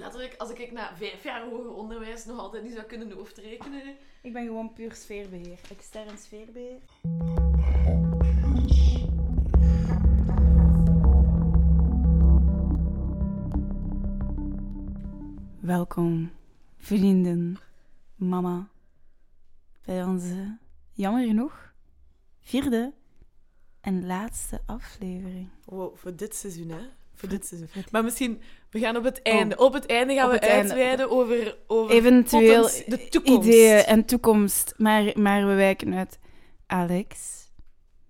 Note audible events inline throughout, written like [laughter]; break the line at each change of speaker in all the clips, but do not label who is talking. letterlijk, als ik na vijf jaar hoger onderwijs nog altijd niet zou kunnen hoofdrekenen.
Ik ben gewoon puur sfeerbeheer. Extern sfeerbeheer. Welkom, vrienden, mama, bij onze, jammer genoeg, vierde en laatste aflevering.
Wow, voor dit seizoen, hè? Voor dit seizoen. Maar misschien, we gaan op het einde. Op het einde gaan
Oh. Op
we
het einde.
uitweiden over, over
Eventueel
potens de toekomst.
ideeën en toekomst, maar, maar we wijken uit. Alex,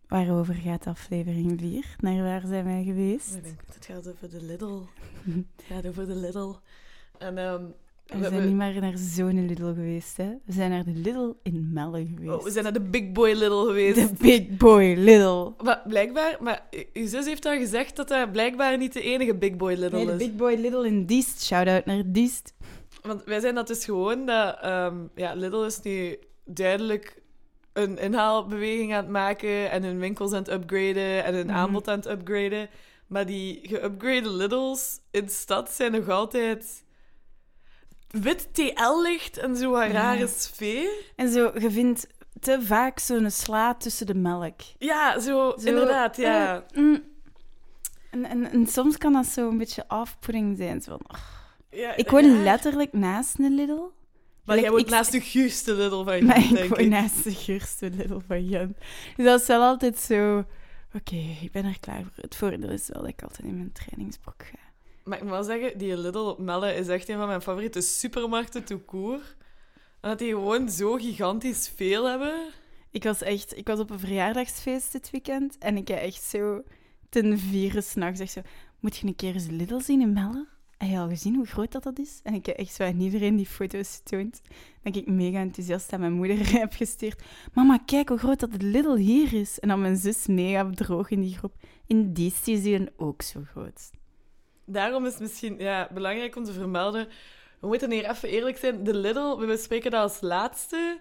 waarover gaat aflevering 4? Naar waar zijn wij geweest?
Oh, Ik denk, Het gaat over de Lidl. Het gaat over de Lidl. En ehm,
We zijn niet maar naar zo'n Lidl geweest, hè? We zijn naar de Lidl in Melle geweest.
oh, we zijn naar de Big Boy Lidl geweest.
De big boy Lidl.
Maar blijkbaar, maar u- uw zus heeft al gezegd dat dat blijkbaar niet de enige Big Boy Lidl
Nee, de
is.
big boy Lidl in Diest. Shout-out naar Diest.
Want wij zijn dat dus gewoon dat ehm, ja, Lidl is nu duidelijk een inhaalbeweging aan het maken en hun winkels aan het upgraden en hun
Mhm.
aanbod aan het upgraden. Maar die geupgrade Lidl's in de stad zijn nog altijd wit TL-licht en zo'n
Ja.
rare sfeer.
En zo, je vindt te vaak zo'n sla tussen de melk.
Ja, zo,
Zo,
inderdaad, ja.
eh, mm. En, en, en soms kan dat zo een beetje afpoeding zijn. Zo van, oh.
ja
Ik woon
raar.
letterlijk naast een Lidl.
Maar jij
ik-
woont
ik-
naast de guurste Lidl van je,
Maar
denk
ik woon naast de geurste Lidl van Gent. Dus dat is wel altijd zo... Oké, ik ben er klaar voor. Het voordeel is wel dat ik altijd in mijn trainingsbroek ga.
Maar ik moet wel zeggen, die Lidl op Melle is echt een van mijn favoriete supermarkten tout court. Omdat die gewoon zo gigantisch veel hebben.
Ik was echt... Ik was op een verjaardagsfeest dit weekend. En ik heb echt zo... Ten vieren s'nachts echt zo... Moet je een keer eens Lidl zien in Melle? Heb je al gezien hoe groot dat, dat is? En ik heb echt zo aan iedereen die foto's getoond. Dan ben ik mega enthousiast aan mijn moeder [laughs] heb gestuurd. Mama, kijk hoe groot dat het Lidl hier is. En dan mijn zus mega bedroog in die groep. In die is die dan ook zo groot.
Daarom is het misschien ja, belangrijk om te vermelden. We moeten hier even eerlijk zijn. De Lidl, we bespreken dat als laatste.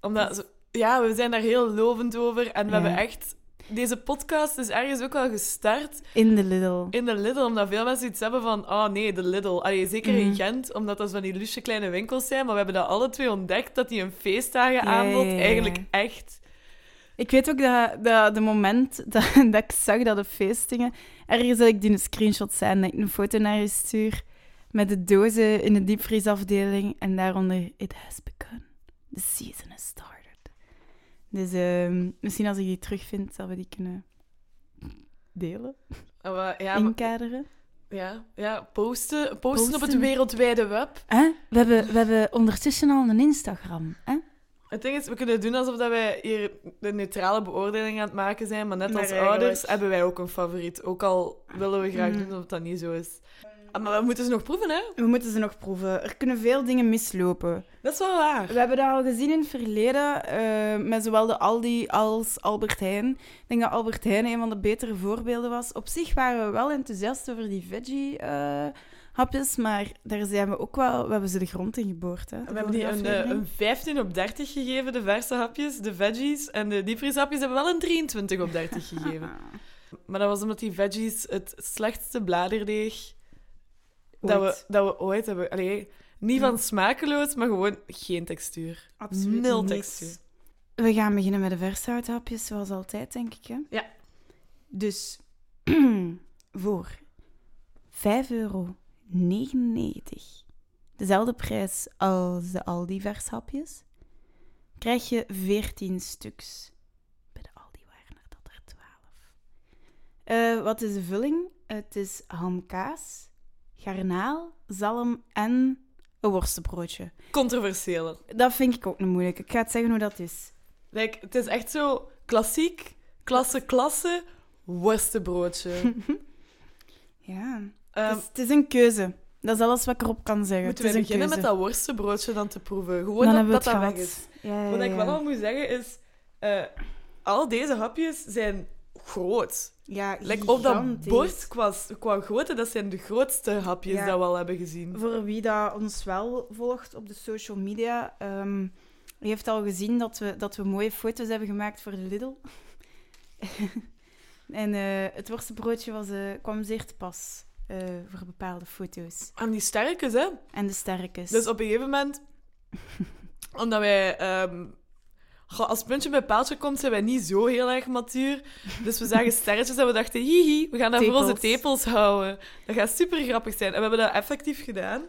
Omdat, zo- ja, we zijn daar heel lovend over. En we
Ja.
hebben echt... Deze podcast is ergens ook al gestart
In de Lidl.
in de Lidl. Omdat veel mensen iets hebben van... Oh nee, de Lidl. Allee, zeker in
Mhm.
Gent, omdat dat van die lusje kleine winkels zijn. Maar we hebben dat alle twee ontdekt, dat die een feestdagen
Ja,
aanbod
ja, ja, ja.
eigenlijk echt...
Ik weet ook dat, dat de moment [laughs] dat, dat ik zag dat de feestingen... Ergens dat ik die een screenshot zijn, dat ik een foto naar je stuur met de dozen in de diepvriesafdeling en daaronder It has begun. The season has started. Dus ehm, misschien als ik die terugvind, zal we die kunnen delen,
Ah, maar ja, maar-
inkaderen.
ja, ja posten, posten, op het
Posten.
wereldwijde web.
Hè? We, hebben, we hebben ondertussen al een Instagram. Hè?
Het ding is, we kunnen doen alsof dat wij hier de neutrale beoordeling aan het maken zijn. Maar net
Maar
als
eigenlijk-
ouders hebben wij ook een favoriet. Ook al willen we graag
Mm.
doen of dat niet zo is. Ah, maar we moeten ze nog proeven, hè?
We moeten ze nog proeven. Er kunnen veel dingen mislopen.
Dat is wel waar.
We hebben dat al gezien in het verleden eh, met zowel de Aldi als Albert Heijn. Ik denk dat Albert Heijn een van de betere voorbeelden was. Op zich waren we wel enthousiast over die veggie-hapjes, maar daar zijn we ook wel... We hebben ze de grond in geboord, hè? de
We hebben die
vorige
een, eh,
aflevering.
een 15 op 30 gegeven, de verse hapjes, de veggies. En de diepvrieshapjes hebben wel een 23 op 30
[laughs]
gegeven.
Ah.
Maar dat was omdat die veggies het slechtste bladerdeeg dat we,
Ooit.
dat we ooit hebben. Allee, niet
Ja.
van smakeloos, maar gewoon geen textuur.
Absoluut
nul
niks.
textuur.
We gaan beginnen met de vershouthapjes, zoals altijd, denk ik, hè?
Ja.
Dus, [clears throat] voor 5,99 euro, dezelfde prijs als de Aldi vershapjes, krijg je 14 stuks. Bij de Aldi waren er dat er 12. Eh, wat is de vulling? Het is hamkaas, garnaal, zalm en een worstenbroodje.
Controversieel.
Dat vind ik ook een moeilijke. Ik ga het zeggen hoe dat is.
[laughs] Like, het is echt zo klassiek, klasse, klasse,
[laughs]
worstenbroodje.
Ja.
Ehm,
het, is, het is een keuze. Dat is alles wat ik erop kan zeggen.
moeten
het
we
is een
beginnen
keuze.
met dat worstenbroodje dan te proeven? Gewoon
Dan
dat
hebben
dat,
we het
dat weg
gehad.
is.
Ja, ja,
Wat ik
Eh, ja.
wel al moet zeggen is, eh, al deze hapjes zijn groot.
Ja,
Like, op dat
gigantisch.
bord qua, qua grootte, dat zijn de grootste hapjes
Ja.
dat we al hebben gezien.
Voor wie dat ons wel volgt op de social media, ehm u heeft al gezien dat we, dat we mooie foto's hebben gemaakt voor de Lidl. [laughs] en eh, het worstenbroodje was, eh, kwam zeer te pas. eh, voor bepaalde foto's.
Aan die sterkes, hè?
En de sterkes.
Dus op een gegeven
[laughs]
moment, omdat wij. ehm, goh, als puntje bij paaltje komt, zijn wij niet zo heel erg matuur. Dus we zagen sterretjes en we dachten, hihi, we gaan dat voor onze
Tepels.
tepels houden. Dat gaat super grappig zijn. En we hebben dat effectief gedaan.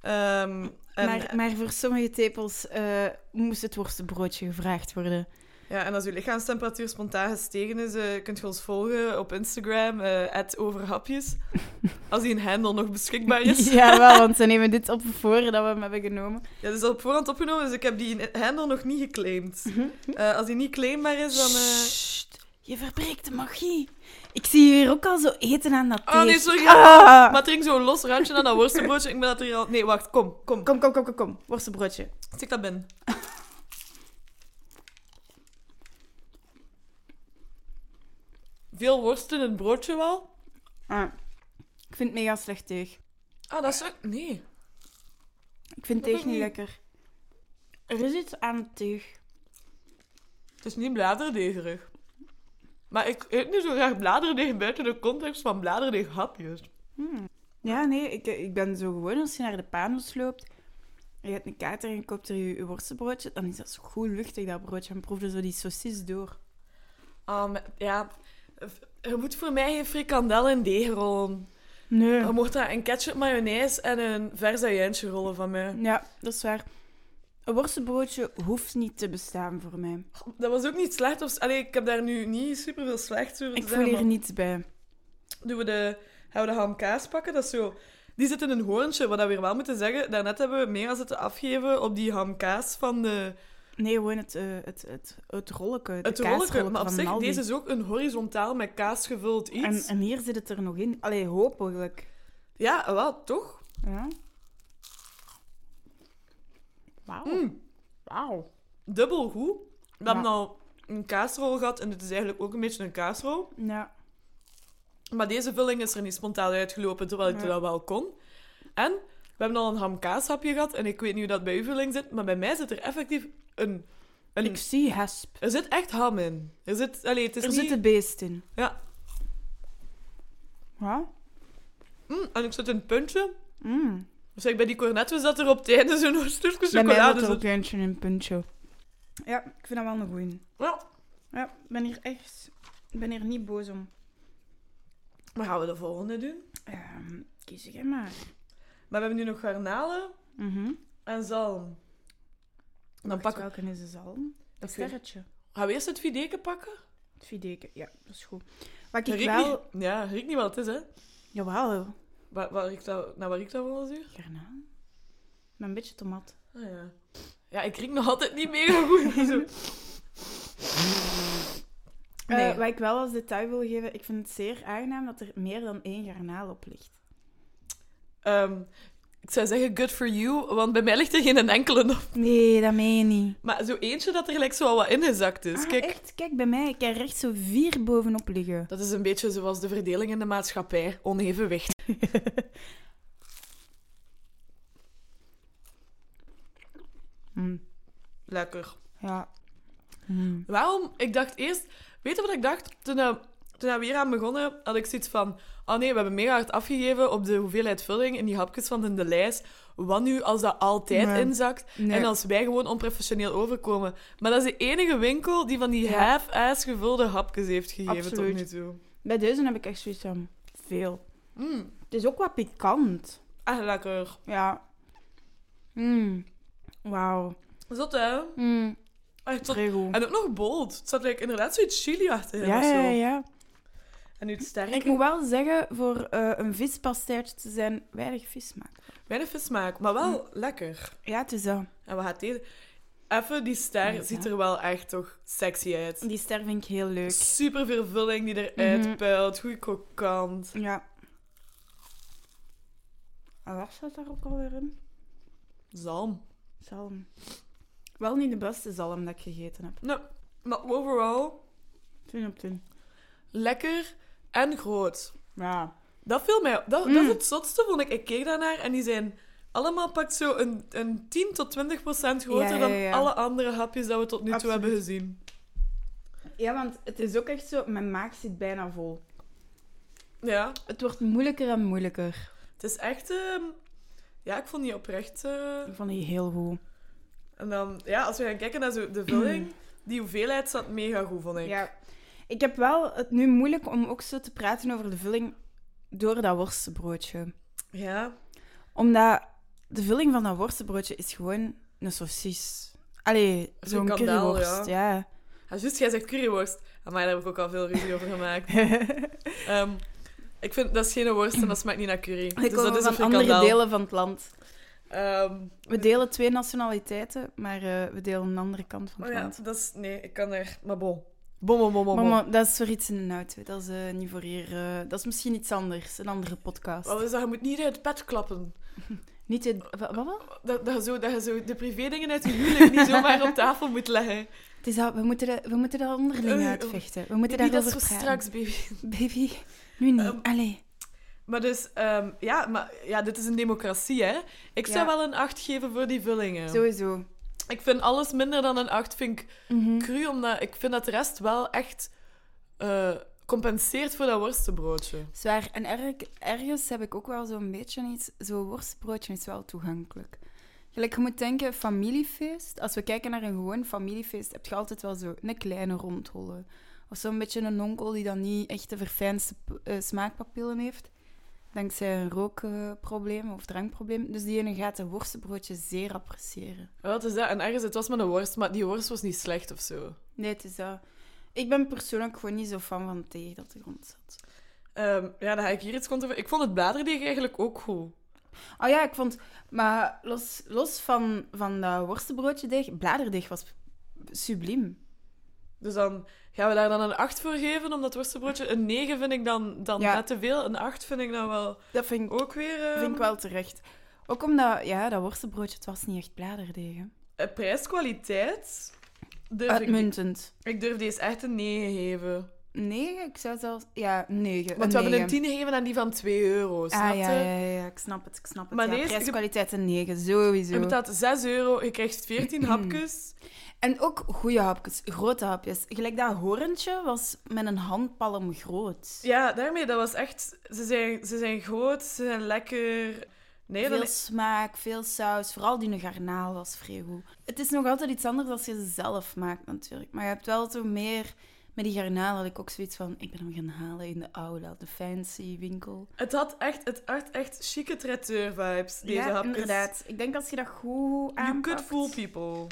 Ehm, en,
maar, maar voor sommige tepels eh, moest het worstenbroodje gevraagd worden.
ja, en als uw lichaamstemperatuur spontaan gestegen is, eh, kunt je ons volgen op Instagram, eh overhapjes. Als die een handle nog beschikbaar
[laughs]
is.
Ja, wel, want ze nemen dit op voor dat we hem hebben genomen.
Ja, dat is al op voorhand opgenomen, dus ik heb die handle nog niet geclaimd. Eh, als die niet claimbaar is, dan... eh,
Sst, je verbreekt de magie. Ik zie hier ook al zo eten aan dat
Oh nee,
theef.
sorry.
Ah.
Maar drink zo'n los randje aan dat worstenbroodje. Ik ben dat er al... Nee, wacht. Kom, kom.
Kom, kom, kom, kom, kom. Worstenbroodje.
Stik dat binnen. Veel worst in het broodje wel?
Ah. Ik vind het mega slecht deeg.
Ah, dat is... ook- Nee.
Ik vind
Dat
deeg
ook
niet
niet.
lekker. Er is iets aan het deeg.
Het is niet bladerdeegerig. Maar ik eet niet zo graag bladerdeeg buiten de context van bladerdeeghapjes.
Ja, nee, ik, eh, ik ben zo gewoon als je naar de panos loopt. en Je hebt een kater en je koopt er je, je worstenbroodje. Dan is dat zo goed luchtig, dat broodje. En proef je zo die saucis door.
Um, ja... Je moet voor mij geen frikandel en deeg rollen.
Nee.
Je mocht daar een ketchup mayonaise en een verse jantje rollen van mij.
Ja, dat is waar. Een worstenbroodje hoeft niet te bestaan voor mij.
Dat was ook niet slecht. Of... Allee, ik heb daar nu niet super veel slecht over te
Ik voel
zeggen.
hier
maar
niets bij.
Doen we de, gaan we de hamkaas pakken? Dat is zo... Die zit in een hoorntje, wat we weer wel moeten zeggen. Daarnet hebben we meer zitten afgeven op die hamkaas van de,
Nee, gewoon het, eh, het, het, het rolletje.
het rolletje.
de kaasrolletje
Maar op
van
zich,
Aldi.
deze is ook een horizontaal met kaas gevuld
En,
iets.
en hier zit het er nog in. Allee, hopelijk.
Ja, wel, toch?
Ja. Wauw.
Mm,
Wauw.
dubbel goed. We
Oh. Ja.
hebben al een kaasrol gehad en dit is eigenlijk ook een beetje een kaasrol.
Ja.
Maar deze vulling is er niet spontaan uitgelopen, terwijl ik
Ja.
dat wel kon. En we hebben al een hamkaashapje gehad, en ik weet niet hoe dat bij uw vulling zit, maar bij mij zit er effectief een... een
Ik zie hesp.
Er zit echt ham in. Er zit... Allee, het is
Er
niet...
zit een beest in.
Dus Ja.
Ja.
Mm, en ik zit in een puntje.
Mm.
Dus ik bij die cornetten zat er op het einde zo'n [laughs] stukje
Bij mij had
chocolade.
er
zat.
ook eentje in puntje. Ja, ik vind dat wel een goeie.
Ja.
Ja, ik ben hier echt... Ik ben hier niet boos om.
Maar gaan we de volgende doen?
Ehm, kies jij maar.
Maar we hebben nu nog garnalen
Mhm.
en zalm. Dan
Wacht,
pakken we...
Welke is de zalm? Een
Oké.
sterretje.
Gaan we eerst het videke pakken?
Het videken, ja, dat is goed. Wat ik
Riekt
wel...
niet... Ja, riekt niet wat het is, hè.
Jawel,
Waar, waar riekt dat... Naar waar riekt dat volgens u?
garnaal. Met een beetje tomat.
Ah, ja. ja, ik riek nog altijd niet mega goed.
[laughs]
Zo. Nee.
Eh, wat ik wel als detail wil geven, ik vind het zeer aangenaam dat er meer dan één garnaal op ligt.
Ehm, ik zou zeggen, good for you, want bij mij ligt er geen enkele op.
Nee, dat meen je niet.
Maar zo eentje dat er gelijk zo al wat ingezakt is.
Ah,
Dus Kijk,
echt? Kijk, bij mij, ik heb er echt zo vier bovenop liggen.
dat is een beetje zoals de verdeling in de maatschappij. Onevenwicht. Hm.
Mm,
Lekker.
ja.
Hm.
Mm.
Waarom? Ik dacht eerst... Weet je wat ik dacht? Toen, eh, toen we hier aan begonnen, had ik zoiets van... Oh nee, we hebben mega hard afgegeven op de hoeveelheid vulling in die hapjes van in de lijst. Wat nu als dat altijd
Nee.
inzakt?
Nee.
En als wij gewoon onprofessioneel overkomen. Maar dat is de enige winkel die van die
Ja.
half-ass gevulde hapjes heeft gegeven
Absoluut.
tot nu toe.
Bij deze heb ik echt zoiets van veel.
Mm,
Het is ook wat pikant.
echt lekker.
Ja.
Hm.
Mm. Wauw.
Zot, hè?
Mm.
Echt zot.
Vrij goed.
En ook nog bold. Het zat like, inderdaad zoiets chili achterin
Ja,
of zo.
ja, ja.
En nu het
Ik
sterke.
moet wel zeggen, voor eh, een vispasteitje te zijn, weinig vis maken.
Weinig vissmaak, maar
Mm.
wel lekker.
Ja, het is dat.
En wat gaat deze... Even, die ster
Ja.
ziet er wel echt toch sexy uit.
Die ster vind ik heel leuk.
Super veel vulling die eruit
Mhm.
puilt. Goed krokant.
Ja. En wat staat daar ook alweer in?
Zalm.
Zalm. Wel niet de beste zalm dat ik gegeten heb.
Nou, maar overall,
10 op 10.
lekker en groot.
Ja.
Dat viel mij dat, dat
Mm.
is het zotste, vond ik. Ik keek daarnaar en die zijn allemaal pakt zo een, een 10 tot 20 procent groter
Ja, ja, ja.
dan alle andere hapjes dat we tot nu toe
Absoluut.
hebben gezien.
Ja, want het is ook echt zo, mijn maag zit bijna vol.
Ja,
Het wordt moeilijker en moeilijker.
het is echt... ehm, ja, ik vond die oprecht... eh,
Ik vond die heel goed.
En dan, ja, als we gaan kijken naar zo de
[clears throat]
vulling, die hoeveelheid zat mega goed, vond ik.
Ja. Ik heb wel het nu moeilijk om ook zo te praten over de vulling door dat worstenbroodje.
Ja.
Omdat de vulling van dat worstenbroodje is gewoon een saucis. Allee,
Een
zo'n
frikandel,
curryworst, ja.
Ja, Ah, juist, jij zegt curryworst. Maar daar heb ik ook al veel ruzie over gemaakt. Ehm, ik vind, dat is geen worst en dat smaakt niet naar curry.
We
dus dat
komen
is een
van andere
frikandel.
delen van het land.
Ehm,
We delen twee nationaliteiten, maar eh, we delen een andere kant van
maar
het
oh ja,
land.
dat is... Nee, ik kan er... Maar bon. Bom, bom, bom, bom, bom.
Mama, dat is voor iets in een auto. Dat is eh, niet voor hier. eh, dat is misschien iets anders, een andere podcast.
Wat is dat? Je moet niet uit het pet klappen.
Niet in, wa- wat, wel?
Dat, dat, je zo, dat je zo de privédingen uit je huwelijk niet zomaar op tafel moet leggen.
Het is dat, we, moeten dat, we moeten dat onderling
Oei, oei.
uitvechten. We moeten
niet dat
daarover
zo
praten.
straks, baby.
Baby, nu niet.
Ehm,
Allee.
Maar dus, ehm, ja, maar, ja, dit is een democratie, hè. Ik zou
Ja.
wel een 8 geven voor die vullingen.
Sowieso.
Ik vind alles minder dan een 8, vind ik
Mhm.
cru, omdat ik vind dat de rest wel echt eh, compenseert voor dat worstenbroodje.
Zwaar. En erg- ergens heb ik ook wel zo'n beetje iets... Zo'n worstbroodje is wel toegankelijk. Gelijk, je moet denken, familiefeest. Als we kijken naar een gewoon familiefeest, heb je altijd wel zo een kleine rondholle. Of zo'n beetje een onkel die dan niet echt de verfijnste p- eh, smaakpapillen heeft. Dankzij een rookprobleem of drankprobleem. Dus die ene gaat een worstenbroodje zeer appreciëren.
Wat is dat? En ergens, het was met een worst, maar die worst was niet slecht of zo.
Nee, het is dat. Ik ben persoonlijk gewoon niet zo fan van tegen dat de grond zat.
Ehm, ja, dan ga ik hier iets controver. Ik vond het bladerdeeg eigenlijk ook goed.
Oh ja, ik vond... Maar los, los van, van dat worstenbroodjedeeg, bladerdeeg was subliem.
Dus dan gaan we daar dan een 8 voor geven, omdat het worstenbroodje... Een 9 vind ik dan, dan
Ja.
net te veel. Een 8 vind ik dan wel
Dat vind ik,
ook weer... ehm,
vind ik wel terecht. Ook omdat, ja, dat worstenbroodje, het was niet echt bladerdeeg. hè.
eh, Prijs-kwaliteit... Durf Dus ik, niet.
Uitmuntend.
ik durf deze echt een 9 geven.
Negen? Ik zou zelfs... Ja, negen.
Want we hebben een
negen.
10 gegeven aan die van 2 euro, snap
Ah
je?
ja, ja, ja, ik snap het, ik snap het.
Maar
ja,
deze-
prijskwaliteit een negen, sowieso.
Je betaalt 6 euro, je krijgt [clears throat] 14 hapjes.
En ook goede hapjes, grote hapjes. Gelijk dat horentje was met een handpalm groot.
Ja, daarmee, dat was echt... Ze zijn, ze zijn groot, ze zijn lekker... Nee,
veel
dan,
smaak, veel saus. Vooral die garnaal was vrij goed. Het is nog altijd iets anders als je ze zelf maakt, natuurlijk. Maar je hebt wel zo meer... Met die garnaal had ik ook zoiets van... Ik ben hem gaan halen in de aula, de fancy winkel.
het had echt, het had echt chique traiteur-vibes, deze
ja,
hapjes.
inderdaad. Ik denk als je dat goed
You
aanpakt...
could fool people.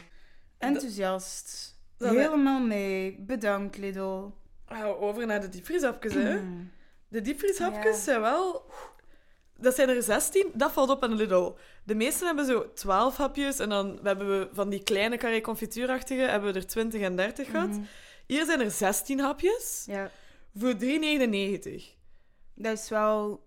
Enthousiast.
Dat-
Helemaal mee. Bedankt, Lidl.
Gaan we over naar de diepvrieshapjes, hè.
Mm.
De diepvrieshapjes
Ja.
zijn wel... Dat zijn er 16, dat valt op aan Lidl. De meesten hebben zo 12 hapjes en dan hebben we van die kleine carré confituurachtige hebben we er 20 en 30 gehad.
Mhm.
Hier zijn er 16 hapjes
Ja,
voor 3,99.
dat is wel...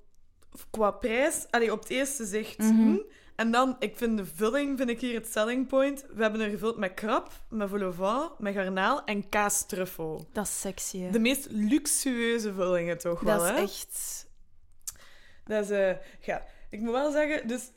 Qua prijs, allee, op het eerste zicht.
Mhm.
hm. En dan, ik vind de vulling, vind ik hier het selling point. We hebben er gevuld met krab, met vol au vent, met garnaal en kaastruffel.
Dat is sexy, hè.
De meest luxueuze vullingen toch wel,
Dat is
hè?
echt...
Dat is, eh, ja. Ik moet wel zeggen, dus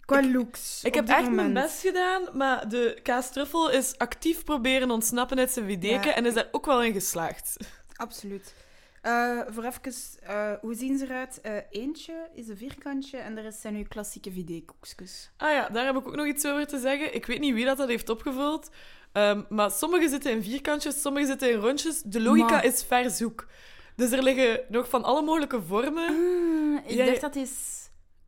Qua looks.
Ik
op
heb
dit
echt mijn
moment.
best gedaan, maar de kaastruffel is actief proberen ontsnappen uit zijn wideken
Ja.
en is daar ook wel in geslaagd.
Absoluut. Eh, voor even, eh, hoe zien ze eruit? Eh, eentje is een vierkantje en de rest zijn uw klassieke videekoekjes.
Ah ja, daar heb ik ook nog iets over te zeggen. Ik weet niet wie dat, dat heeft opgevuld, ehm, maar sommige zitten in vierkantjes, sommige zitten in rondjes. De logica
Maar-
is verzoek. Dus er liggen nog van alle mogelijke vormen.
Ah, ik
Jij-
dacht dat is...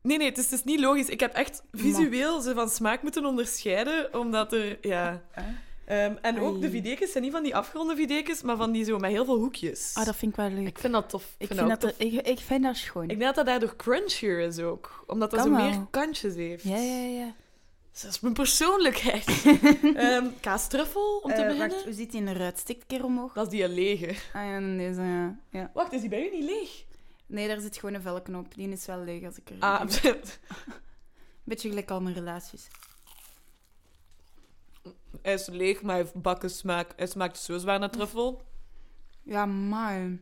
Nee, nee, het is, het is niet logisch. Ik heb echt visueel ze van smaak moeten onderscheiden, omdat er... Ja. Ehm, en ook
Eh? Ai.
de videkens zijn niet van die afgeronde videkens, maar van die zo met heel veel hoekjes.
Ah, dat vind ik wel leuk.
Ik vind dat tof.
Ik
dat
vind, dat
tof.
er- ik, ik vind dat schoon.
Ik denk dat dat daardoor crunchier is ook. Omdat dat
Kan
zo
wel.
meer kantjes heeft.
Ja, ja, ja.
Dus dat is mijn [laughs] persoonlijkheid. Ehm kaastruffel, om te
Eh,
beginnen.
wacht, hoe ziet die eruit? Stikt een keer omhoog?
Dat is die lege.
Ah ja, nee, deze, ja. ja.
Wacht, is die bij u niet leeg?
Nee, daar zit gewoon een velknoop. Die is wel leeg als ik er...
Ah, [laughs]
Beetje gelijk al mijn relaties.
hij is leeg, maar hij heeft bakken smaak. Hij smaakt zo zwaar naar truffel.
Ja, maar...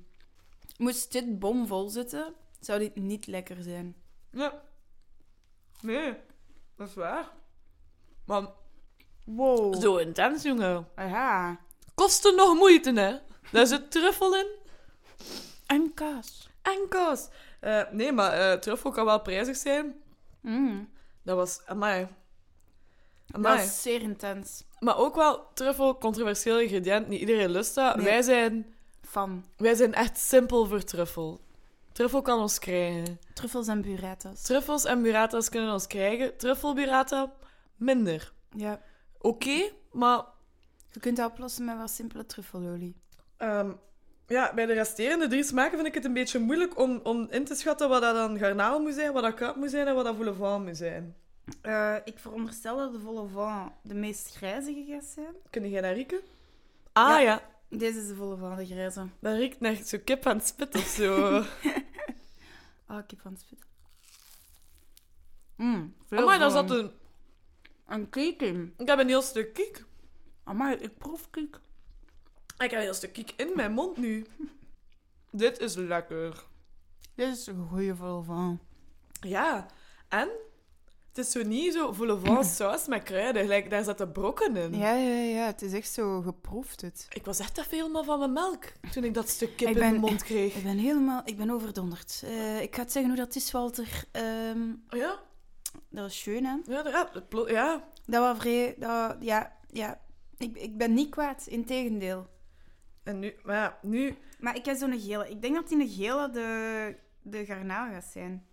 Moest dit bomvol zitten, zou dit niet lekker zijn.
Ja. Nee, dat is waar. Maar
Wow.
zo intens, jongen.
Aha.
Kosten nog moeite, hè? Daar zit truffel in
En kaas.
enko's. Eh, nee, maar eh truffel kan wel prijzig zijn.
Mm.
Dat was, amai.
Dat
Amai.
is zeer intens.
Maar ook wel truffel, controversieel ingrediënt. Niet iedereen lust dat.
Nee.
Wij, zijn,
Van
wij zijn echt simpel voor truffel. Truffel kan ons krijgen.
truffels en burritos.
Truffels en burrata's kunnen ons krijgen. Truffelburrata, minder.
Ja.
Oké, maar
Je kunt dat oplossen met wat simpele truffelolie.
Ehm, ja, bij de resterende drie smaken vind ik het een beetje moeilijk om, om in te schatten wat dat dan garnaal moet zijn, wat dat krab moet zijn en wat dat voulevent moet zijn.
Eh, ik veronderstel dat de vol au vent de meest grijzige gaat zijn.
Kun jij naar rieken? Ah ja.
Deze is de vol au vent, de grijze.
dat riekt naar zo'n kip aan het spit of [laughs] zo.
Ah, ik heb aan het spitten. Mm, veel
Amai, daar
vorm.
zat een...
Een cake in.
Ik heb een heel stuk kiek.
Amai, ik proef cake.
Ik heb een heel stuk kiek in mijn mond nu. Dit is lekker.
Dit is een goeie vol au vent.
Ja, en... Het is zo niet zo
[clears throat]
voulevent saus met kruiden. Gelijk, daar zaten brokken in.
Ja, ja, ja. Het is echt zo geproefd, het.
Ik was echt even helemaal van mijn melk toen ik dat stuk kip
Ik
in
ben-
mijn mond kreeg.
Ik ben helemaal... Ik ben overdonderd. Eh, ik ga het zeggen hoe dat is, Walter. Ehm,
Oh Ja,
dat was schön, hè?
ja, ja, het plo- ja.
Dat was vrij... Dat, ja, ja. Ik, ik ben niet kwaad, integendeel.
En nu, maar ja, nu,
Maar ik heb zo'n gele. Ik denk dat die een gele de, de garnaal gaat zijn.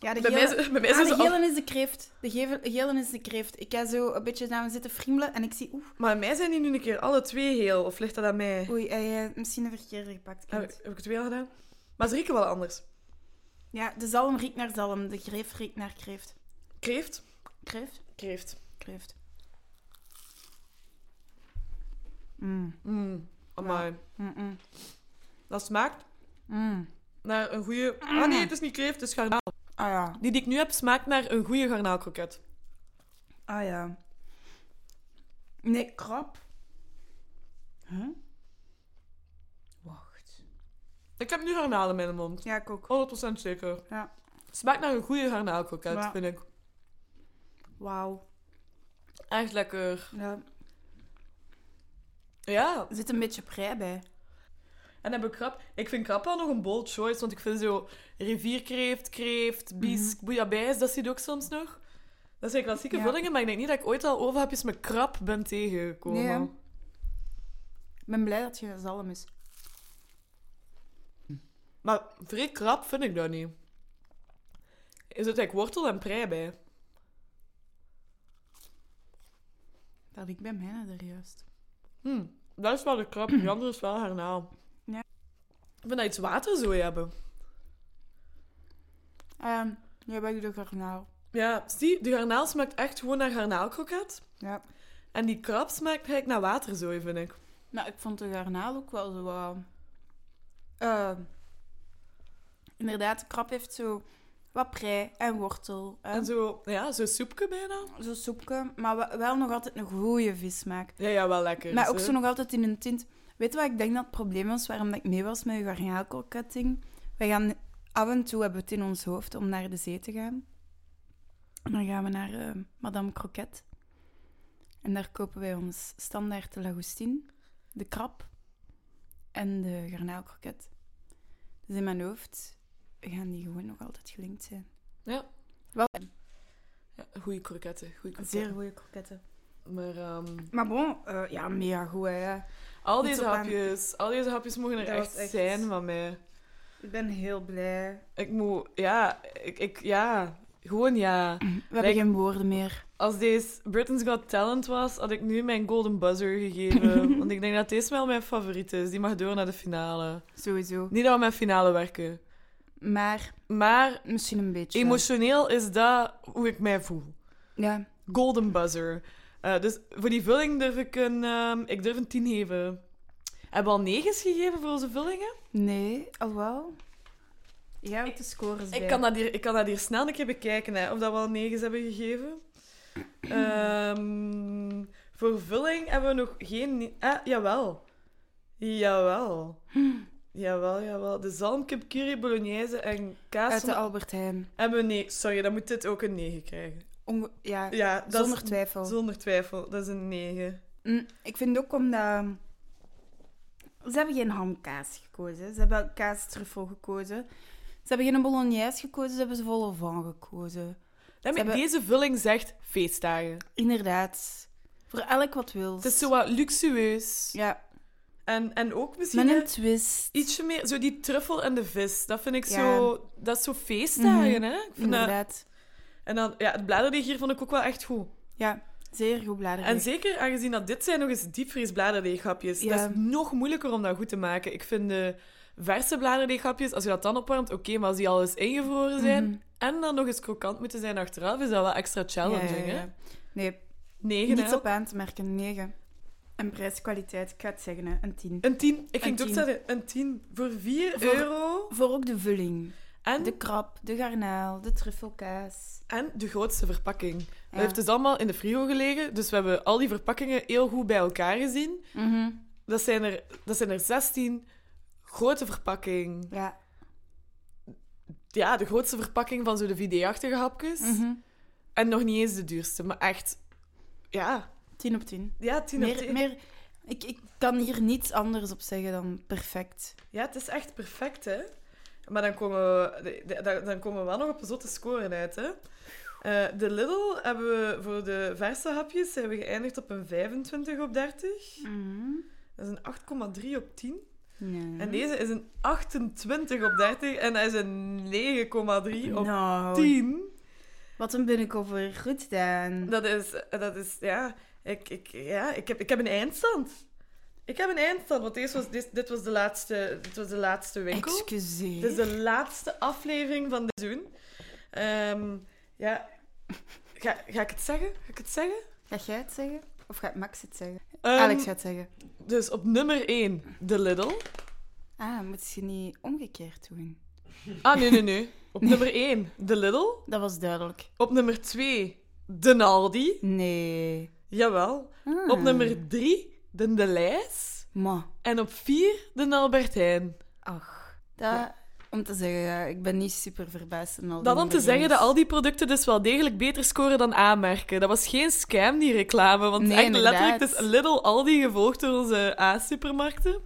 Ja, de
bij
gele...
mij, z- bij mij
Ah,
zijn ze
de
al-
gele is de kreeft. De geve- gele is de kreeft. Ik ga zo een beetje naar me zitten friemelen en ik zie... Oeh,
Maar bij mij zijn die nu een keer alle twee heel, of ligt dat aan mij?
oei, hij heeft misschien een verkeerde gepakt.
Heb,
Kind.
ik- heb ik het weer gedaan? Maar ze rieken wel anders.
Ja, de zalm riekt naar zalm. De kreeft riekt naar kreeft.
Kreeft?
Kreeft?
Kreeft.
Kreeft. Mm,
Mm, amai.
mm, mm,
Dat smaakt
mm.
naar een goede. Ah nee, het is niet kreeft, het is garnaal.
Ah ja.
Die die ik nu heb smaakt naar een goede garnaalkroket.
Ah ja. Nee, krap. Huh? Wacht.
Ik heb nu garnaal in mijn mond.
Ja, ik ook.
100% zeker.
Ja.
Smaakt naar een goede garnaalkroket,
Ja.
vind ik.
Wauw.
Echt lekker.
Ja.
Ja,
Er zit een beetje prei bij.
En heb ik krap. Ik vind krap wel nog een bold choice, want ik vind zo rivierkreeft,
Mhm.
kreeft, bies, bouillabaisse, dat zie je ook soms nog. Dat zijn klassieke
Ja.
vullingen, maar ik denk niet dat ik ooit al overhapjes met krap ben tegengekomen.
Nee, hè? Ik ben blij dat je zalm is.
Maar vrij krap vind ik dat niet. Er zit eigenlijk wortel en prei bij.
Dat ik bij mij er juist.
Hm, dat is wel de krap, die andere is wel garnaal.
Hmm. Ja.
Ik vind dat iets water zo hebben.
Ehm, jij bent de garnaal.
Ja, zie, de garnaal smaakt echt gewoon naar garnaalkroket.
Ja.
En die krap smaakt eigenlijk naar waterzooi, vind ik.
Maar Nou, ik vond de garnaal ook wel zo... wat, ehm, inderdaad, de krap heeft zo wat prei en wortel. En
En
zo,
zo, ja, zo'n soepje bijna.
zo'n soepje. Maar we- wel nog altijd een goede vismaak.
Ja, ja, wel lekker.
Maar
is,
ook
hè.
zo nog altijd in een tint. Weet je wat ik denk dat het probleem was waarom dat ik mee was met uw garnaalkoketting? Wij gaan af en toe hebben we het in ons hoofd om naar de zee te gaan. En dan gaan we naar eh, Madame Croquette. En daar kopen wij ons standaard de lagoustine, de krab en de garnaalkroket. Dus in mijn hoofd gaan die gewoon nog altijd gelinkt zijn.
Ja.
Wel,
Ja, goeie kroketten, goeie kroketten.
zeer goede kroketten.
Maar ehm,
Maar bon, eh, ja, mega goed. Hè. ja.
al
Niet
deze
zo bang.
hapjes, al deze hapjes mogen er
Dat
echt,
was echt-
zijn van mij.
Ik ben heel blij.
Ik moet, ja, ik, ik ja, gewoon ja.
We hebben geen woorden meer.
Als deze Britain's Got Talent was, had ik nu mijn golden buzzer
[laughs]
gegeven. want ik denk dat deze wel mijn favoriet is. Die mag door naar de finale.
Sowieso.
Niet dat we met finale werken.
Maar
Maar
misschien een beetje.
emotioneel is dat hoe ik mij voel.
Ja.
Golden Buzzer. Eh, dus voor die vulling durf ik een, ehm, ik durf een 10 geven. Hebben we al 9's gegeven voor onze vullingen?
Nee, al wel. Ja, ik, de scores bij.
Ik kan, dat hier, ik kan dat hier snel een keer bekijken, hè, of dat we al 9's hebben gegeven. Ehm, voor vulling hebben we nog geen... ni- Ah, jawel. Jawel. Jawel, jawel. De zalmkip, curry, bolognese en kaas
Uit de
van-
Albert Heijn.
hebben we... Nee, sorry, dan moet dit ook een 9 krijgen.
Onge- ja,
Ja, dat
zonder
is,
twijfel. Hm,
Zonder twijfel, dat is een 9.
Mm, ik vind ook omdat ze hebben geen hamkaas gekozen. Ze hebben kaastruffel gekozen. Ze hebben geen bolognese gekozen, ze hebben ze vol van gekozen.
Nee, maar
hebben-
Deze vulling zegt feestdagen.
Inderdaad. Voor elk wat wil.
Het is zo wat luxueus.
Ja,
En, en ook misschien
met
hè,
een twist.
ietsje meer... Zo die truffel en de vis. Dat vind ik
Ja. Mhm.
zo... Dat is zo feestdagen, hè? Ik vind dat-
Inderdaad.
En dan... Ja, het bladerdeeg hier vond ik ook wel echt goed.
Ja, zeer goed bladeren.
En zeker aangezien dat dit zijn nog eens diepvriesbladerdeeghapjes.
Ja.
Dat is nog moeilijker om dat goed te maken. Ik vind de verse bladerdeeghapjes, als je dat dan opwarmt, oké, maar als die al eens ingevroren zijn
Mhm.
en dan nog eens krokant moeten zijn achteraf, is dat wel extra challenging,
Ja, ja, ja.
hè?
Nee,
Negen,
niets
hè?
op aan te merken. 9. En prijskwaliteit, ik ga het zeggen, hè, een 10.
Een tien. Ik
Een
ging het ook
tien.
zeggen, een tien. Voor 4
Voor-
euro.
Voor ook de vulling.
En
De
de...
krab, de garnaal, de truffelkaas.
en de grootste verpakking.
Ja.
Dat heeft dus allemaal in de frigo gelegen. Dus we hebben al die verpakkingen heel goed bij elkaar gezien.
Mhm.
Dat zijn er, dat zijn er 16. Grote verpakking.
Ja.
ja, de grootste verpakking van zo de VD-achtige hapjes.
Mhm.
En nog niet eens de duurste, maar echt... Ja,
10 op 10.
ja, tien op
Meer,
tien.
meer, ik, ik kan hier niets anders op zeggen dan perfect.
Ja, het is echt perfect, hè. Maar dan komen we, de- de- da- dan komen we wel nog op zotte scoren uit, hè. Eh, de Lidl hebben we voor de verse hapjes zijn we geëindigd op een 25 op 30. Dat is een 8,3 op 10.
Nee.
Mhm. En deze is een 28 op 30 en dat is een 9,3 op
Nou,
10.
wat een binnenkoffer. Goed dan.
Dat is, eh, dat is ja, ik, ik, ja ik, heb, ik heb een eindstand. Ik heb een eindstand, want deze was, dit, dit was de laatste, dit was de laatste winkel.
Excuseer.
Dit is de laatste aflevering van dit seizoen. Ehm, ja, ga, ga ik het zeggen? Ga ik het zeggen?
Ga jij het zeggen? Of gaat Max het zeggen?
Ehm,
Alex gaat het zeggen.
Dus op nummer 1, de Lidl.
Ah, moet je niet omgekeerd doen.
Ah, nee, nee,
[laughs]
nee. Op nummer 1, de Lidl.
Dat was duidelijk.
Op nummer 2, de Naldi.
Nee.
Jawel.
Ah.
Op nummer 3, de De Leijs.
Ma.
En op 4, de Albert Heijn.
Ach. Dat, om te zeggen, ja, ik ben niet super verbaasd. en al die
Dan om te
nummers.
zeggen dat al die producten dus wel degelijk beter scoren dan aanmerken. Dat was geen scam, die reclame. Want
Nee,
echt
inderdaad.
letterlijk, het is Lidl Aldi gevolgd door onze A-supermarkten.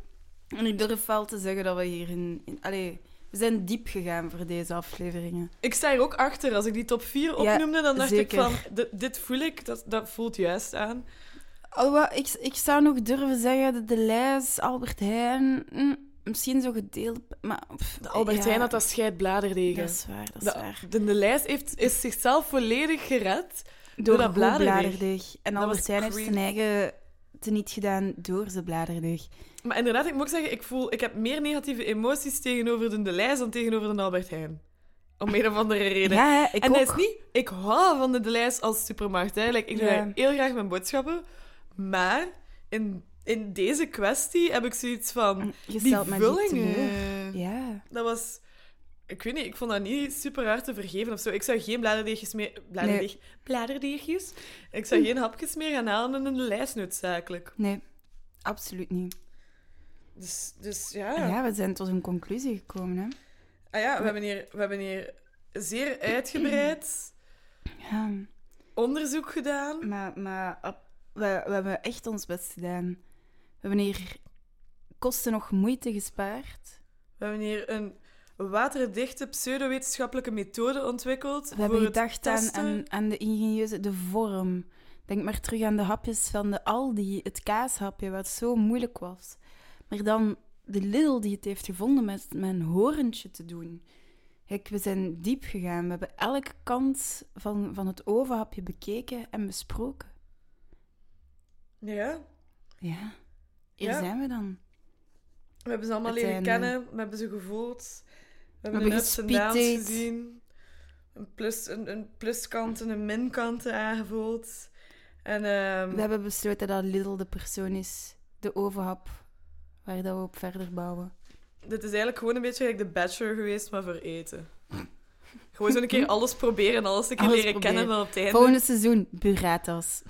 En ik durf wel te zeggen dat we hier in... in allee, we zijn diep gegaan voor deze afleveringen.
Ik sta hier ook achter. Als ik die top 4 opnoemde, dan dacht
zeker.
ik van... "Di- Dit voel ik, dat, dat voelt juist aan.
Alhoewel, Oh, ik, ik zou nog durven zeggen dat de lijst, Albert Heijn... mm, misschien zo gedeeld, maar... pff,
De Albert
ja,
Heijn had dat scheidbladerdegen.
Dat is waar, dat is waar.
de, de, de lijst heeft, is zichzelf volledig gered.
Door
dat
dat
bladerdeeg.
bladerdeeg. En
Dat
Albert
was
Heijn heeft
creep.
zijn eigen teniet gedaan door zijn bladerdeeg.
Maar inderdaad, ik moet ook zeggen, ik, voel, ik heb meer negatieve emoties tegenover de, de lijst dan tegenover de Albert Heijn. Om een of andere reden.
Ja, hè, ik
en
ook.
dat is niet... Ik hou van de De Lijst als supermarkt. Hè. Like, ik doe
Ja.
daar heel graag mijn boodschappen. Maar in, in deze kwestie heb ik zoiets van...
Mm, Je
Die eh,
stelt mij niet teleur.
vullingen...
Ja.
Dat was... Ik weet niet, ik vond dat niet super hard te vergeven of zo. Ik zou geen bladerdeegjes meer... Bladerdeeg, Bladerdeegjes? Ik zou geen hapjes meer gaan halen in de lijst noodzakelijk.
Nee, absoluut niet.
Dus, dus ja.
Ja. we zijn tot een conclusie gekomen, hè.
Ah ja, we hebben hier, we hebben hier zeer uitgebreid
Ja,
onderzoek gedaan.
maar, maar ab- we, we hebben echt ons best gedaan. We hebben hier kosten nog moeite gespaard.
We hebben hier een waterdichte pseudowetenschappelijke methode ontwikkeld.
We hebben
voor het
gedacht aan,
testen.
aan, aan de ingenieuze, de vorm. Denk maar terug aan de hapjes van de Aldi, het kaashapje, wat zo moeilijk was. Maar dan de Lidl die het heeft gevonden met mijn horentje te doen. Kijk, we zijn diep gegaan. We hebben elke kant van, van het ovenhapje bekeken en besproken.
Ja,
Ja, hier
Ja. Mm.
zijn we dan.
we hebben ze allemaal
Het
leren
zijn, eh,
kennen, we hebben ze gevoeld. We hebben
hebben
de ups en downs
gespieteerd.
gezien. Een, plus, een, een pluskant en een minkant aangevoeld. En ehm,
We hebben besloten dat Lidl de persoon is, de ovenhap, waar dat we op verder bouwen.
dit is eigenlijk gewoon een beetje gelijk de bachelor geweest, maar voor eten. Gewoon zo'n
[laughs]
keer alles proberen en alles een keer
Alles
leren kennen
proberen.
dan op het einde.
Volgende seizoen, burratas.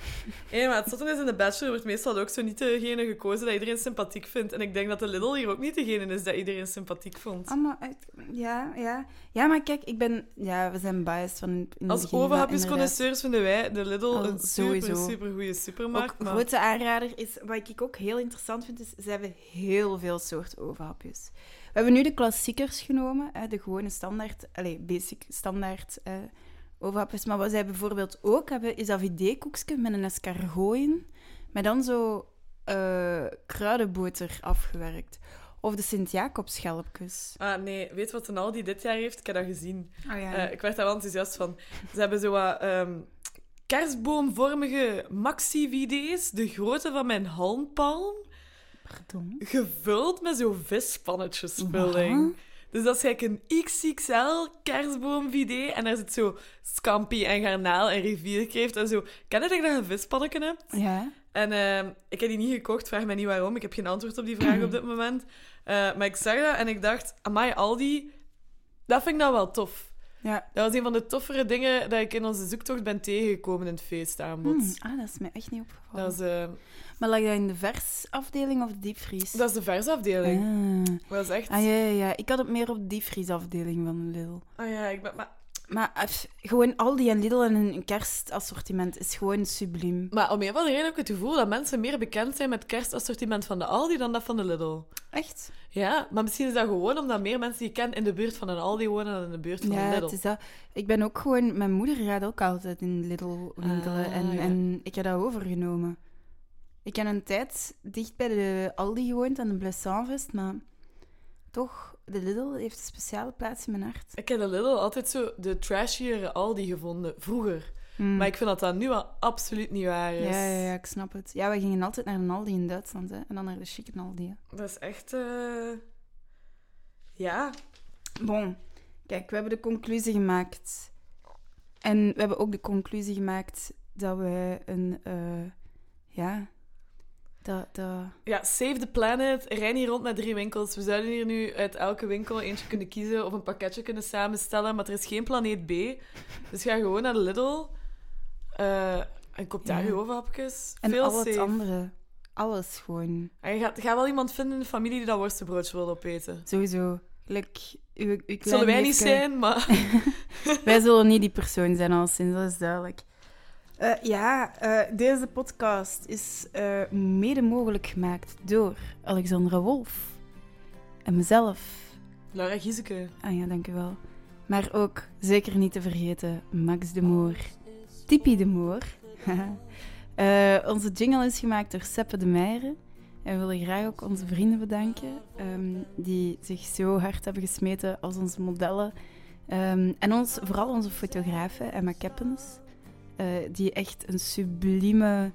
Ja, maar het zotte is, in de Bachelor wordt meestal ook zo niet degene gekozen dat iedereen sympathiek vindt. En ik denk dat de Lidl hier ook niet degene is dat iedereen sympathiek vond.
Allemaal uit- ja, ja. Ja, maar kijk, ik ben... Ja, we zijn biased van... in
Als
het begin, maar inderdaad.
overhapjesconnoisseurs vinden wij de Lidl
Al
een super,
sowieso.
super goede supermarkt.
Ook
maar
grote aanrader is, wat ik ook heel interessant vind, is ze hebben heel veel soorten overhapjes. We hebben nu de klassiekers genomen, hè, de gewone standaard, allez, basic standaard eh, overhapjes. Maar wat zij bijvoorbeeld ook hebben, is dat vidéekoekje met een escargot in, met dan zo eh, kruidenboter afgewerkt. Of de Sint-Jacobschelpjes.
Ah nee, weet wat een Aldi dit jaar heeft? Ik heb dat gezien.
Oh ja.
Eh, ik werd daar wel enthousiast van. Ze hebben zo wat ehm, kerstboomvormige maxi-video's, de grootte van mijn handpalm,
Pardon?
gevuld met zo'n vispannetjes vulling.
Wat?
Dus dat is eigenlijk een XXL kerstboomvidee en daar zit zo scampi en garnaal en rivierkreeft en zo. Ken je dat je daar een vispannetje hebt?
Ja.
En ehm, ik heb die niet gekocht, vraag mij niet waarom. Ik heb geen antwoord op die vraag op dit moment. Eh, maar ik zag dat en ik dacht, amai, Aldi, dat vind ik nou wel tof.
ja.
Dat was een van de toffere dingen dat ik in onze zoektocht ben tegengekomen in het feestaanbod.
Hmm, ah, dat is mij echt niet opgevallen.
Dat, is, eh,
Maar lag dat in de versafdeling of de diepvries?
dat is de versafdeling.
Ah.
Dat is echt...
Ah ja, ja, ja, ik had het meer op de diepvriesafdeling van Lidl.
Ah ja, ik ben... Maar,
Maar eh, pff, gewoon Aldi en Lidl en een kerstassortiment is gewoon subliem.
maar om een of andere reden heb ik het gevoel dat mensen meer bekend zijn met het kerstassortiment van de Aldi dan dat van de Lidl.
Echt?
Ja, maar misschien is dat gewoon omdat meer mensen die ik ken in de buurt van een Aldi wonen dan in de buurt van
Ja,
een
het
Lidl.
is dat. Ik ben ook gewoon... Mijn moeder gaat ook altijd in Lidl winkelen
Ah,
en,
ja.
en ik heb dat overgenomen. Ik heb een tijd dicht bij de Aldi gewoond, aan de Blessanvest, maar toch, de Lidl heeft een speciale plaats in mijn hart.
Ik heb de Lidl altijd zo de trashiere Aldi gevonden, vroeger.
Mm.
Maar ik vind dat dat nu al absoluut niet waar is.
ja, ja, ja, ik snap het. Ja, we gingen altijd naar een Aldi in Duitsland, hè. En dan naar de chique Aldi, hè.
Dat is echt... eh, Ja,
Bon, kijk, we hebben de conclusie gemaakt. En we hebben ook de conclusie gemaakt dat we een. eh, ja. Dat, dat...
Ja, save the planet. Rijn hier rond met drie winkels. We zouden hier nu uit elke winkel eentje kunnen kiezen of een pakketje kunnen samenstellen, maar er is geen planeet B. Dus ga gewoon naar de Lidl eh, en koop daar
Ja.
je overhapjes.
En
Veel
al het
safe.
andere. Alles gewoon.
En je gaat, gaat wel iemand vinden in de familie die dat worstenbroodje wil opeten.
Sowieso. Like, uw, uw klein
Het zullen wij niet
neefje-
zijn,
[laughs]
maar...
Wij zullen niet die persoon zijn, al sinds, dat is duidelijk. Eh, ja, eh, deze podcast is eh, mede mogelijk gemaakt door Alexandra Wolf en mezelf.
Laura Gieseke.
Ah ja, dank u wel. Maar ook, zeker niet te vergeten, Max de Moor. Tipi de Moor. [laughs] Haha. Eh, onze jingle is gemaakt door Seppe de Meijeren. En we willen graag ook onze vrienden bedanken, ehm, die zich zo hard hebben gesmeten als onze modellen. Ehm, en ons, vooral onze fotografen, Emma Keppens, eh, die echt een sublieme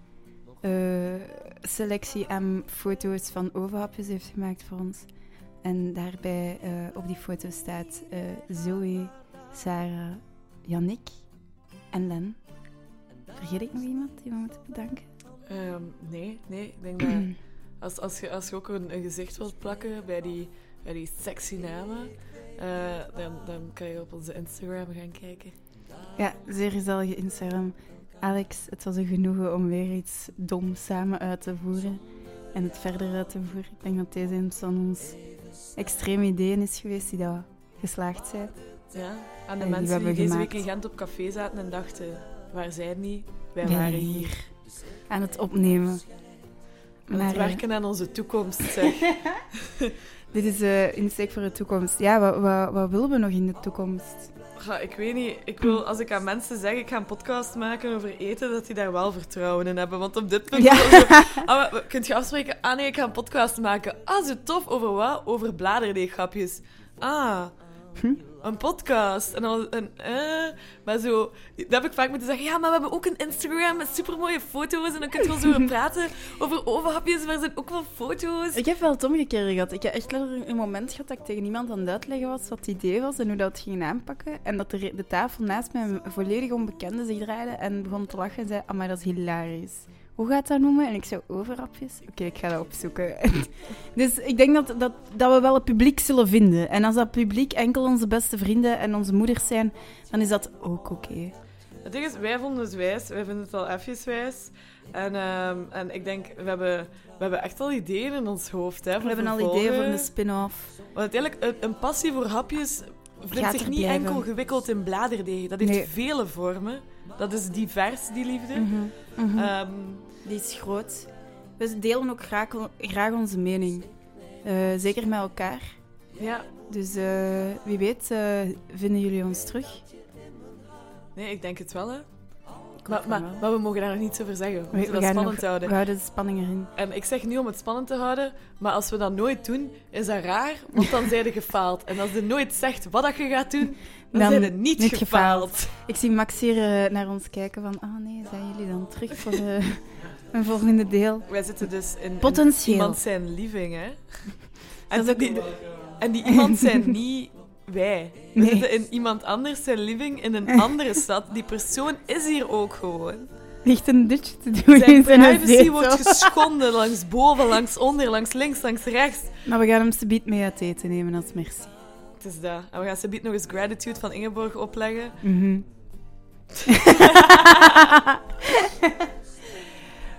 eh, selectie aan foto's van overhapjes heeft gemaakt voor ons. En daarbij eh, op die foto staat eh, Zoe, Sarah, Yannick en Len. Vergeet ik nog iemand die we moeten bedanken?
Ehm, nee, nee. Ik denk dat [clears throat] als, als, je, als je ook een, een gezicht wilt plakken bij die, bij die sexy namen, eh, dan, dan kan je op onze Instagram gaan kijken.
Ja, zeer gezellige Instagram. Alex, het was een genoegen om weer iets dom samen uit te voeren. En het verder uit te voeren. Ik denk dat deze een van ons extreme ideeën is geweest die dat geslaagd zijn.
Ja, aan de
En Eh, die
mensen die,
hebben we
deze
gemaakt.
week in Gent op café zaten en dachten, waar zijn die? Wij waren hier.
Aan het opnemen.
Aan
Maar,
het
eh,
werken aan onze toekomst, eh.
[laughs]
zeg.
Dit is eh insteek voor de toekomst. Ja, wat, wat, wat willen we nog in de toekomst?
Ja, ik weet niet, ik wil, als ik aan mensen zeg, ik ga een podcast maken over eten, dat die daar wel vertrouwen in hebben. Want op dit punt... [laughs]
Ja.
is het zo, ah, maar, kunt je afspreken? Ah nee, ik ga een podcast maken. Ah, zo tof. Over wat? Over bladerdeeggapjes. Ah...
Hm?
Een podcast. En dan een, eh, maar zo, dat heb ik vaak moeten zeggen. Ja, maar we hebben ook een Instagram met supermooie foto's. En dan kun je wel zo
[laughs]
over praten. Over overhapjes, maar er zijn ook wel foto's.
Ik heb wel het omgekeerde gehad. Ik heb echt letterlijk een moment gehad dat ik tegen iemand aan het uitleggen was wat het idee was en hoe dat ging aanpakken. En dat de, re- de tafel naast mij een volledig onbekende zich draaide en begon te lachen en zei, maar dat is hilarisch. hoe gaat dat noemen? En ik zei, overhapjes. Oké, ik ga dat opzoeken. [laughs] dus ik denk dat, dat, dat we wel het publiek zullen vinden. En als dat publiek enkel onze beste vrienden en onze moeders zijn, dan is dat ook oké.
Het ding is, wij vonden het wijs. Wij vinden het al even wijs. En, ehm, en ik denk, we hebben, we hebben echt al ideeën in ons hoofd. Hè,
We
voor
hebben al
vervolgen.
ideeën voor een spin-off.
Want uiteindelijk, een, een passie voor hapjes vindt
Gaat
zich
er
niet
blijven.
enkel gewikkeld in bladerdeeg. Dat heeft
Nee.
vele vormen. Dat is divers, die liefde.
Mhm.
Ehm,
Die is groot. We delen ook graag, graag onze mening. Eh, zeker met elkaar.
ja,
Dus eh, wie weet eh, vinden jullie ons terug.
nee, ik denk het wel, hè.
hoop
Maar,
van
maar,
wel.
maar we mogen daar nog niets over zeggen. We
We-
moeten
we
dat
gaan
spannend
nog-
houden.
We houden de spanning erin.
En ik zeg nu om het spannend te houden, maar als we dat nooit doen, is dat raar, want dan zijn we [laughs] gefaald. En als je nooit zegt wat dat je gaat doen, dan,
Dan
zijn we niet,
niet
gefaald.
Ik zie Max hier eh, naar ons kijken van... Ah nee, zijn jullie dan terug voor eh, [laughs] een volgende deel?
Wij zitten dus in- in
Potentieel.
iemand zijn living,
[laughs]
hè. En,
Dat is ook-
die, en die iemand
[laughs]
zijn niet wij. We
Nee.
zitten in iemand anders zijn living in
[laughs]
een andere stad. Die persoon is hier ook gewoon.
Echt een dutje te doen
Zijn
in zijn
privacy
zetel.
wordt geschonden langs boven, langs onder, langs links, langs rechts.
Maar we gaan hem subiet mee uit eten nemen als merci.
Het is dat. En we gaan ze nog eens Gratitude van Ingeborg opleggen.
Mhm.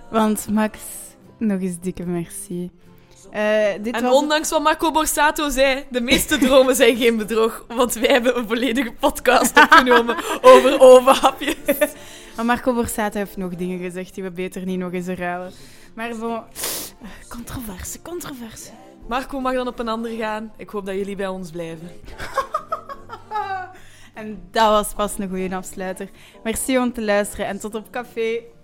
Want Max, nog eens dikke merci. Eh, dit
En
was...
ondanks wat Marco Borsato zei, de meeste [laughs] dromen zijn geen bedrog, want wij hebben een volledige podcast opgenomen over overhapjes.
Maar Marco Borsato heeft nog dingen gezegd die we beter niet nog eens herhalen. Maar bon... eh, Controverse, controverse.
Marco mag dan op een ander gaan. Ik hoop dat jullie bij ons blijven.
En dat was pas een goede afsluiter. Merci om te luisteren en tot op café.